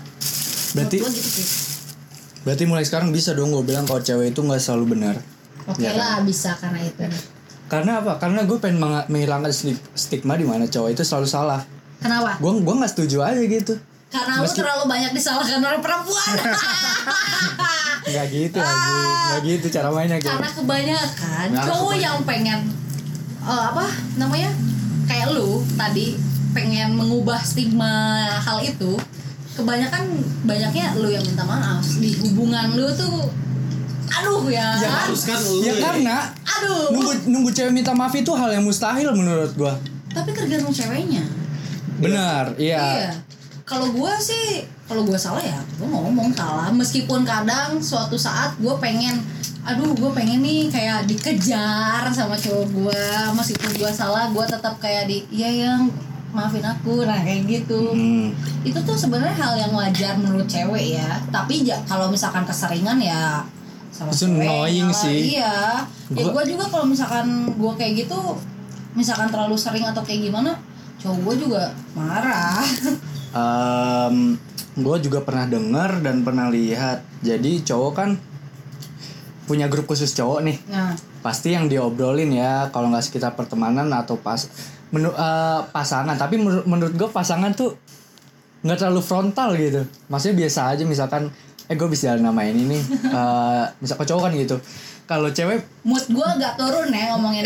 Berarti
Menurut gua gitu sih
berarti mulai sekarang bisa dong gue bilang kalau cewek itu nggak selalu benar.
oke
Iya kan?
lah bisa karena itu
Karena apa? Karena gue pengen menga- menghilangkan sti- stigma di mana cowok itu selalu salah.
kenapa
Gue gue nggak setuju aja gitu.
karena lu
Meski-
terlalu banyak disalahkan oleh perempuan
<laughs>
<laughs>
Nggak gitu lagi. Nggak gitu cara mainnya gitu.
karena kebanyakan
Nah,
cowok
Iya. kebanyakan.
yang pengen eh, apa namanya kayak lu tadi pengen mengubah stigma hal itu kebanyakan banyaknya lu yang minta maaf di hubungan lu tuh aduh ya,
ya harus kan lu
Ya
ya.
karena
aduh
nunggu nunggu cewek minta maaf itu hal yang mustahil menurut gue.
tapi tergantung ceweknya
Benar,
iya
iya.
kalau gua sih kalau gua salah ya gua ngomong salah meskipun kadang suatu saat gua pengen aduh gua pengen nih kayak dikejar sama cowok gua meskipun gua salah gua tetap kayak di iya yang maafin aku nah kayak gitu
Hmm.
itu tuh sebenarnya hal yang wajar menurut cewek ya tapi ja- kalau misalkan keseringan ya sama
Itu
cewek,
annoying
malah.
sih.
iya ya
Gua-
gue juga kalau misalkan gue kayak gitu misalkan terlalu sering atau kayak gimana cowok gue juga marah <laughs>
gue juga pernah denger dan pernah lihat. Jadi cowok kan punya grup khusus cowok nih.
nah
Pasti yang diobrolin ya kalau nggak sekitar pertemanan atau pas menu- eh, pasangan. Tapi menur- menurut gue pasangan tuh nggak terlalu frontal gitu. Maksudnya biasa aja misalkan eh gue bisa jalan nama ini nih. Eh, misalkan cowok kan gitu. Kalau cewek
mood gue agak turun ya ngomongin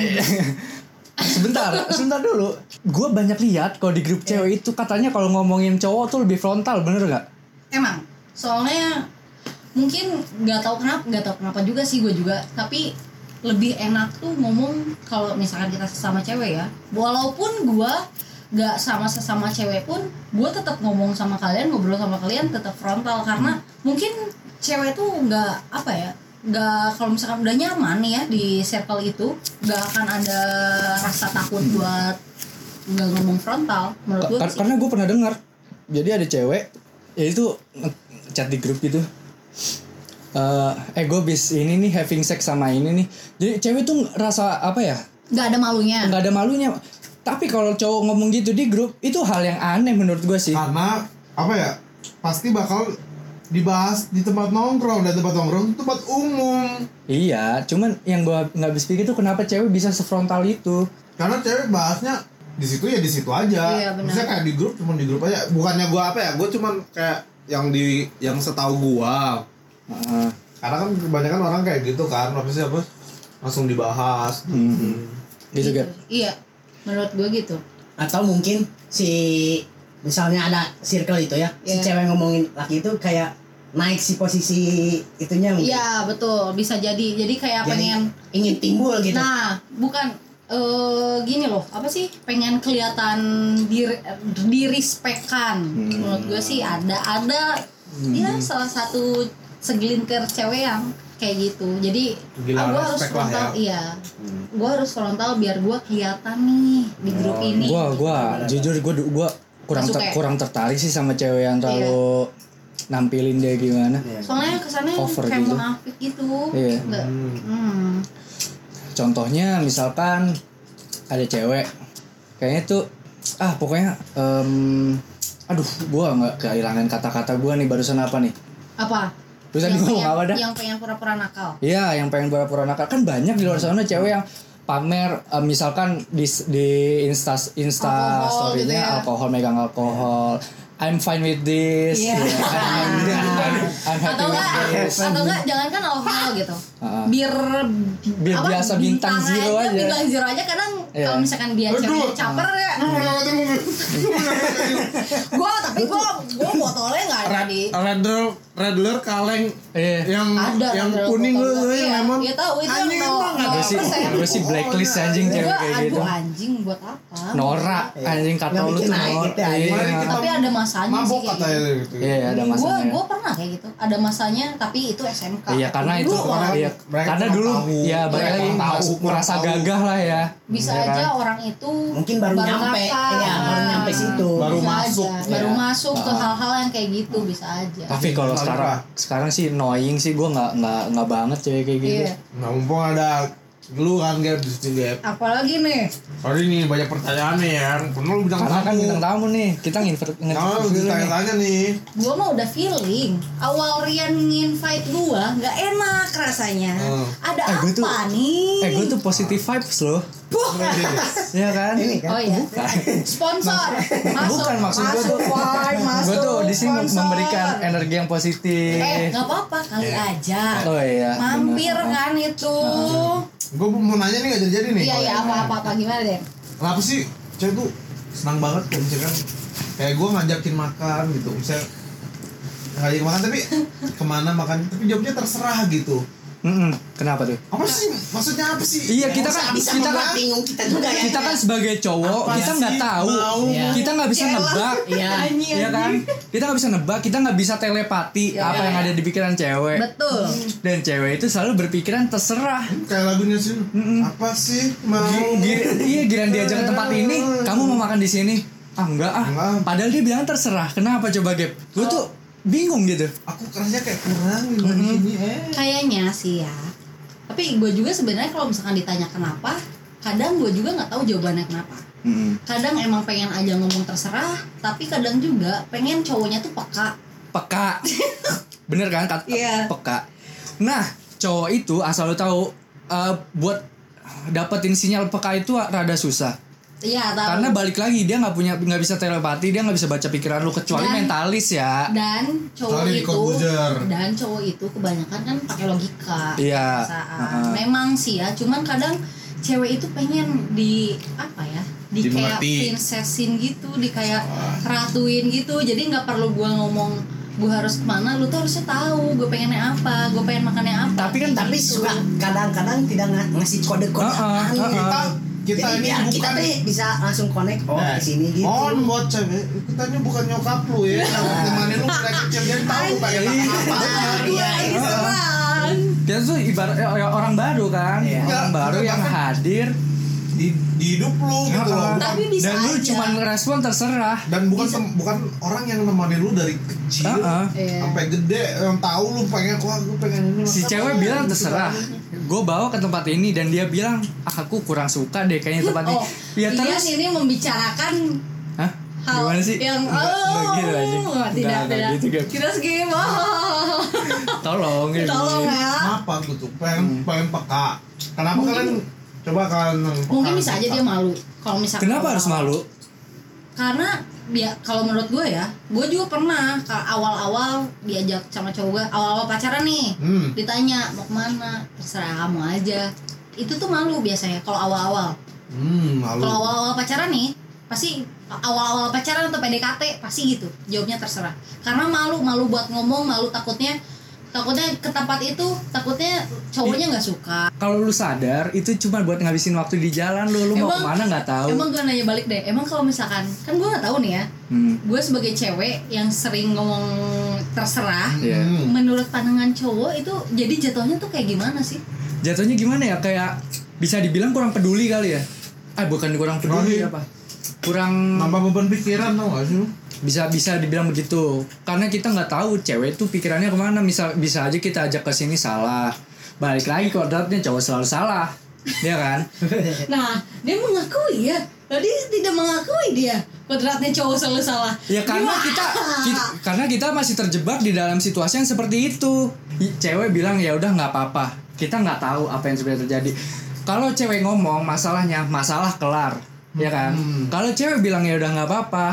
sebentar, sebentar dulu. Gue banyak lihat kalau di grup cewek itu katanya kalau ngomongin cowok tuh lebih frontal, bener nggak?
emang soalnya mungkin nggak tahu kenapa nggak tahu kenapa juga sih gue juga tapi lebih enak tuh ngomong kalau misalkan kita sesama cewek ya walaupun gue nggak sama sesama cewek pun gue tetap ngomong sama kalian ngobrol sama kalian tetap frontal karena mungkin cewek tuh nggak apa ya nggak kalau misalkan udah nyaman nih ya di circle itu nggak akan ada rasa takut buat nggak ngomong frontal menurut gue
Kar-
sih.
karena gue pernah dengar jadi ada cewek ya itu nge- chat di grup gitu Eh, eh gue bis ini nih having sex sama ini nih jadi cewek tuh rasa apa ya
nggak ada malunya
nggak ada malunya tapi kalau cowok ngomong gitu di grup itu hal yang aneh menurut gue sih
karena apa ya pasti bakal dibahas di tempat nongkrong dan tempat nongkrong itu tempat umum
iya cuman yang gue nggak habis pikir tuh kenapa cewek bisa sefrontal itu
karena cewek bahasnya di situ ya di situ aja
Iya, benar.
Maksudnya kayak di grup cuman di grup aja bukannya gua apa ya gua cuman kayak yang di yang setahu gua
Heeh.
karena kan kebanyakan orang kayak gitu kan maksudnya apa langsung dibahas
gitu
Gitu.
Gap.
Iya, menurut gue gitu.
atau mungkin si misalnya ada circle itu ya si
Iya.
cewek ngomongin laki itu kayak naik si posisi itunya mungkin.
Iya betul, bisa jadi. Jadi kayak
Oh, Jadi
pengen.
ingin timbul gitu
Nah, bukan eh gini loh, apa sih? Pengen kelihatan di direspekkan. Menurut gue sih ada ada ya salah satu segelintir cewek yang kayak gitu. Jadi
Gila,
ah, gua harus
respect lah
frontal,
ya.
iya. Gue harus frontal biar gue kelihatan nih di grup ini.
gue gue jujur gue gue kurang
Iya. Masuk Iya.
ter-
ya?
kurang tertarik sih sama cewek yang terlalu nampilin dia
Iya.
gimana
Iya.
Soalnya kesannya
Over
kayak
gitu.
munafik gitu.
Iya.
Nggak- hmm.
Contohnya misalkan ada cewek kayaknya tuh ah pokoknya em, aduh gua nggak kehilangan kata-kata gua nih barusan apa nih
Apa?
Terus tadi gua
pengen,
ngomong apa dah?
yang pengen pura-pura
<laughs>
nakal.
Iya yang pengen pura-pura nakal kan banyak di luar sana cewek yang pamer em, misalkan di di insta insta
Alkohol
story-nya
gitu ya.
alkohol megang alkohol I'm fine with this
Iya.
ya, I'm, I'm- I'm happy
atau
with
enggak
this
atau enggak jangan kan alkohol gitu
Ah.
bir
Biar
apa,
biasa bintang zero aja.
bintang zero aja kadang
Iya.
kalau misalkan dia ceweknya caper ya
Ah.
gue tapi gue gue botolnya nggak ada di
Redler, Redler kaleng
Iya.
yang
ada
yang
dalam
kuning
botol
lu yang
gua. Iya,
lemon.
iya tahu itu yang
Anjing,
nol
emang ada
Gue
nol
sih
persen
gue sih blacklist anjing
gue
cewek kayak gitu
aduh anjing buat apa
Nora anjing kata
Nggak
lu tuh
bikin naik
Nora
gitu ya, anjing.
Iya.
tapi ada masanya sih
Mabok
kayak
katanya
gitu
gitu.
Iya, iya, ada
gue
masanya.
gue pernah kayak gitu ada masanya tapi itu SMK
Iya, karena itu
Dulu
orang-
iya.
mereka
karena
kurang
dulu
tahu.
ya balik
Mereka
lagi
kurang
merasa,
tahu, kurang
merasa
tahu.
gagah lah ya.
bisa
Ya kan?
aja orang itu
mungkin baru, nyampe
nakal.
ya baru nyampe situ
Baru
Bisa
masuk.
aja. baru
Iya.
masuk ke
Ah.
hal-hal yang kayak gitu bisa aja
Tapi kalau
Lalu
sekarang
apa?
sekarang sih annoying sih gua nggak nggak nggak banget cewek kayak gitu.
iya
Nah, mumpung ada lu kan gap di sini gap.
apalagi nih
Sorry nih banyak pertanyaannya ya. Karena lu bintang
Karena kan
tamu.
bintang tamu Iya. nih, kita nginvert
Karena lu ditanya-tanya nih.
gua mah udah feeling awal Rian nginvite gua nggak enak rasanya
Hmm.
ada
Eh,
apa
gua tuh-
nih
Eh gua tuh positive vibes loh. Iya kan?
ini kan
oh iya sponsor masuk
Bukan maksud gua
masuk
tuh.
Wan,
kan
masuk
Gua tuh di sini mem-
sponsor.
memberikan energi yang positif.
eh nggak apa-apa kali aja
Oh iya.
mampir
bener.
kan itu
Gue mau nanya nih gak jadi-jadi nih.
iya iya apa-apa apa gimana deh
Kenapa sih cewek tuh senang banget kalau misalkan kayak gue ngajakin makan gitu. Misal ngajakin makan tapi kemana makan tapi jawabnya terserah gitu.
Mm-mm. Kenapa tuh?
Apa sih maksudnya apa sih? Eh,
Iya kita kan
bisa
kita kan
membuat bingung <laughs> kita juga ya
kita kan sebagai cowok
Apa
kita
sih
nggak tahu
mau?
Iya.
kita nggak bisa nebak
Iya.
Iya kan Iya. kita nggak bisa nebak kita nggak bisa telepati apa yang ada di pikiran cewek
betul
dan cewek itu selalu berpikiran terserah
Kayak lagunya sih. Apa sih mau?
Gir- iya giran diajak ke tempat ini kamu mau makan di sini ah enggak ah
Enggak.
padahal dia bilang terserah kenapa coba Gap gue tuh bingung gitu
aku kerja kayak kurang nih dari sini eh
kayaknya sih ya tapi gue juga sebenarnya kalau misalkan ditanya kenapa kadang gue juga nggak tahu jawabannya kenapa kadang emang pengen aja ngomong terserah tapi kadang juga pengen cowoknya tuh peka
<laughs> peka bener kan kata
Iya.
peka nah cowok itu asal lo tahu eh, buat dapetin sinyal peka itu rada susah
iya tahu
karena balik lagi dia nggak punya nggak bisa telepati dia nggak bisa baca pikiran lu kecuali
Dan-
mentalis ya
dan cowok
Sorry,
itu
Corbuzier.
dan cowok itu kebanyakan kan pakai logika
Iya.
perasaan.
Heeh.
memang sih ya cuman kadang cewek itu pengen di apa ya di kayak
Dimengerti.
prinsesin gitu di kayak ratuin gitu jadi nggak perlu gua ngomong gua harus kemana lu tuh harusnya tahu gue pengennya apa gue pengen makannya apa
tapi kan tapi
Gitu.
suka kadang-kadang tidak nga- ngasih kode-kode
Ah, ah,
apaan
ah,
gitu.
kita kita
Jadi
ini
biar kita
bukan
nih bisa langsung connect oh
Nah,
di sini gitu Ah.
Mohon buat cewek, kita ini bukan nyokap lu ya. Yang Temenin lu
<laughs>
mulai kecil jadi tahu kayak apa.
iya gitu
dia tuh ibarat eh, orang baru kan
Iya.
orang baru yang
kan?
hadir
Di, di hidup lu gitu loh.
Ah,
Tapi bisa
dan lu
aja.
cuman respon terserah
Dan bukan tem- bukan orang yang nemenin lu dari kecil
Ah, ah.
Iya.
sampai gede yang tahu lu pengen wah gue pengen ini
si
makan
cewek
apa,
bilang
gitu.
terserah
kan."
gue bawa ke tempat ini dan dia bilang ah, aku kurang suka deh kayaknya tempat ini
oh
ya
dia
terus
sini membicarakan
Hah?
hal
Gimana sih?
yang
Enggak, enggak gitu aja.
oh tidak
Enggak, enggak
tidak
gitu, guys.
kita segini
Tolong gitu.
<laughs> tolong ya
Kenapa gitu? Pengen
Hmm.
pengen peka. Kenapa kalian coba kalian yang peka,
mungkin bisa aja
peka.
dia malu kalau misalkan
Kenapa harus malu?
karena dia kalau menurut gue ya gue juga pernah ke awal-awal diajak sama cowok gue awal-awal pacaran nih
Hmm.
ditanya mau kemana terserah kamu aja itu tuh malu biasanya kalau awal-awal
Hmm, malu.
kalau awal-awal pacaran nih pasti awal-awal pacaran atau PDKT pasti gitu jawabnya terserah karena malu malu buat ngomong malu takutnya takutnya ke tempat itu takutnya cowoknya nggak suka
Kalau lu sadar itu cuma buat ngabisin waktu di jalan lu, lu mau
Emang-
kemana nggak tahu.
emang gue nanya balik deh emang kalau misalkan kan gue nggak tahu nih ya
Hmm.
gue sebagai cewek yang sering ngomong terserah
Iya.
Hmm.
menurut pandangan cowok itu jadi jatuhnya tuh kayak gimana sih
Jatuhnya gimana ya? Kayak bisa dibilang kurang peduli kali ya? Ah bukan kurang peduli
Rohim.
apa? Kurang
Nambah beban pikiran tau gak sih lu?
bisa bisa dibilang begitu karena kita nggak tahu cewek tuh pikirannya kemana misal bisa aja kita ajak ke sini salah balik lagi kodratnya cowok selalu salah ya kan <laughs>
nah dia mengakui ya tadi tidak mengakui dia kodratnya cowok selalu salah
ya karena kita, ki- karena kita masih terjebak di dalam situasi yang seperti itu I- cewek bilang ya udah nggak apa-apa kita nggak tahu apa yang sebenarnya terjadi kalau cewek ngomong masalahnya masalah kelar ya kan
Hmm.
kalau cewek bilang ya udah nggak apa-apa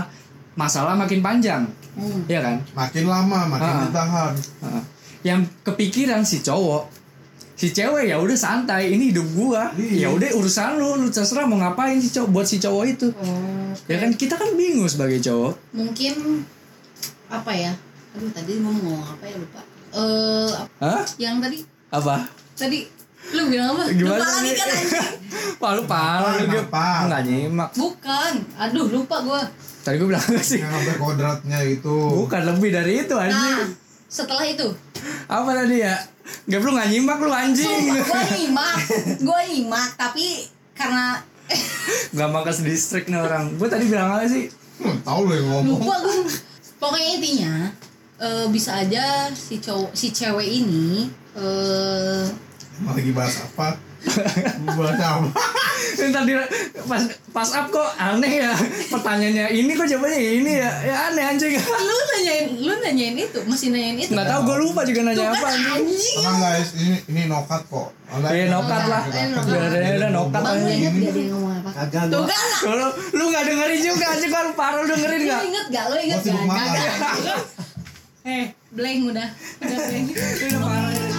masalah makin panjang
Hmm.
ya kan
Makin lama makin
Ah.
ditahan.
Heeh. yang kepikiran si cowok si cewek ya udah santai ini hidup gua
Iya.
ya udah urusan lu lu terserah mau ngapain si cowok buat si cowok itu
Oh,
ya kan kita kan bingung sebagai cowok
mungkin apa ya aduh tadi gue mau ngomong apa ya lupa eh apa-
Hah?
yang tadi
apa
tadi lu bilang apa
gimana
lupa lagi
nih
kan anjing.
<laughs> Wah, lu parah lu Gep.
Kenapa?
nggak nyimak
bukan aduh lupa gue
tadi gua bilang apa sih
Yang sampai kodratnya itu.
bukan lebih dari itu
nah
anjing
setelah itu
apa tadi ya Gak lu nggak nyimak lu anjing
gue
<laughs>
nyimak gue nyimak tapi karena
Gak makas distrik nih orang Gue tadi bilang apa sih
Hmm, tahu lu yang ngomong.
lupa gue pokoknya intinya eh, bisa aja si cowok si cewek ini eh
Emang lagi bahas
<laughs>
apa? bahas apa?
Iya.
Ini tadi pas, pas up kok aneh ya Pertanyaannya ini kok jawabannya ini ya Ya aneh anjing <laughs>
lu nanyain lu nanyain itu masih nanyain itu
Nggak tahu gue lupa juga nanya
Tuh
apa
kan
anjing.
anjing
Tenang guys, ini ini nokat kok. Oleh-
Iya nokat lah.
Eh, nokat.
Udah udah udah nokat
Bang, lu
aja.
inget gak dia ngomong apa?
kagak
Tuh
gua
kan lah.
Lu lu enggak dengerin juga anjing kan parah lu dengerin
Lu
enggak?
inget gak? Lu inget
Gua sibuk
ya. <laughs>
gak?
makan.
Kagak. Eh, blank udah. Udah blank.
Lu udah parah.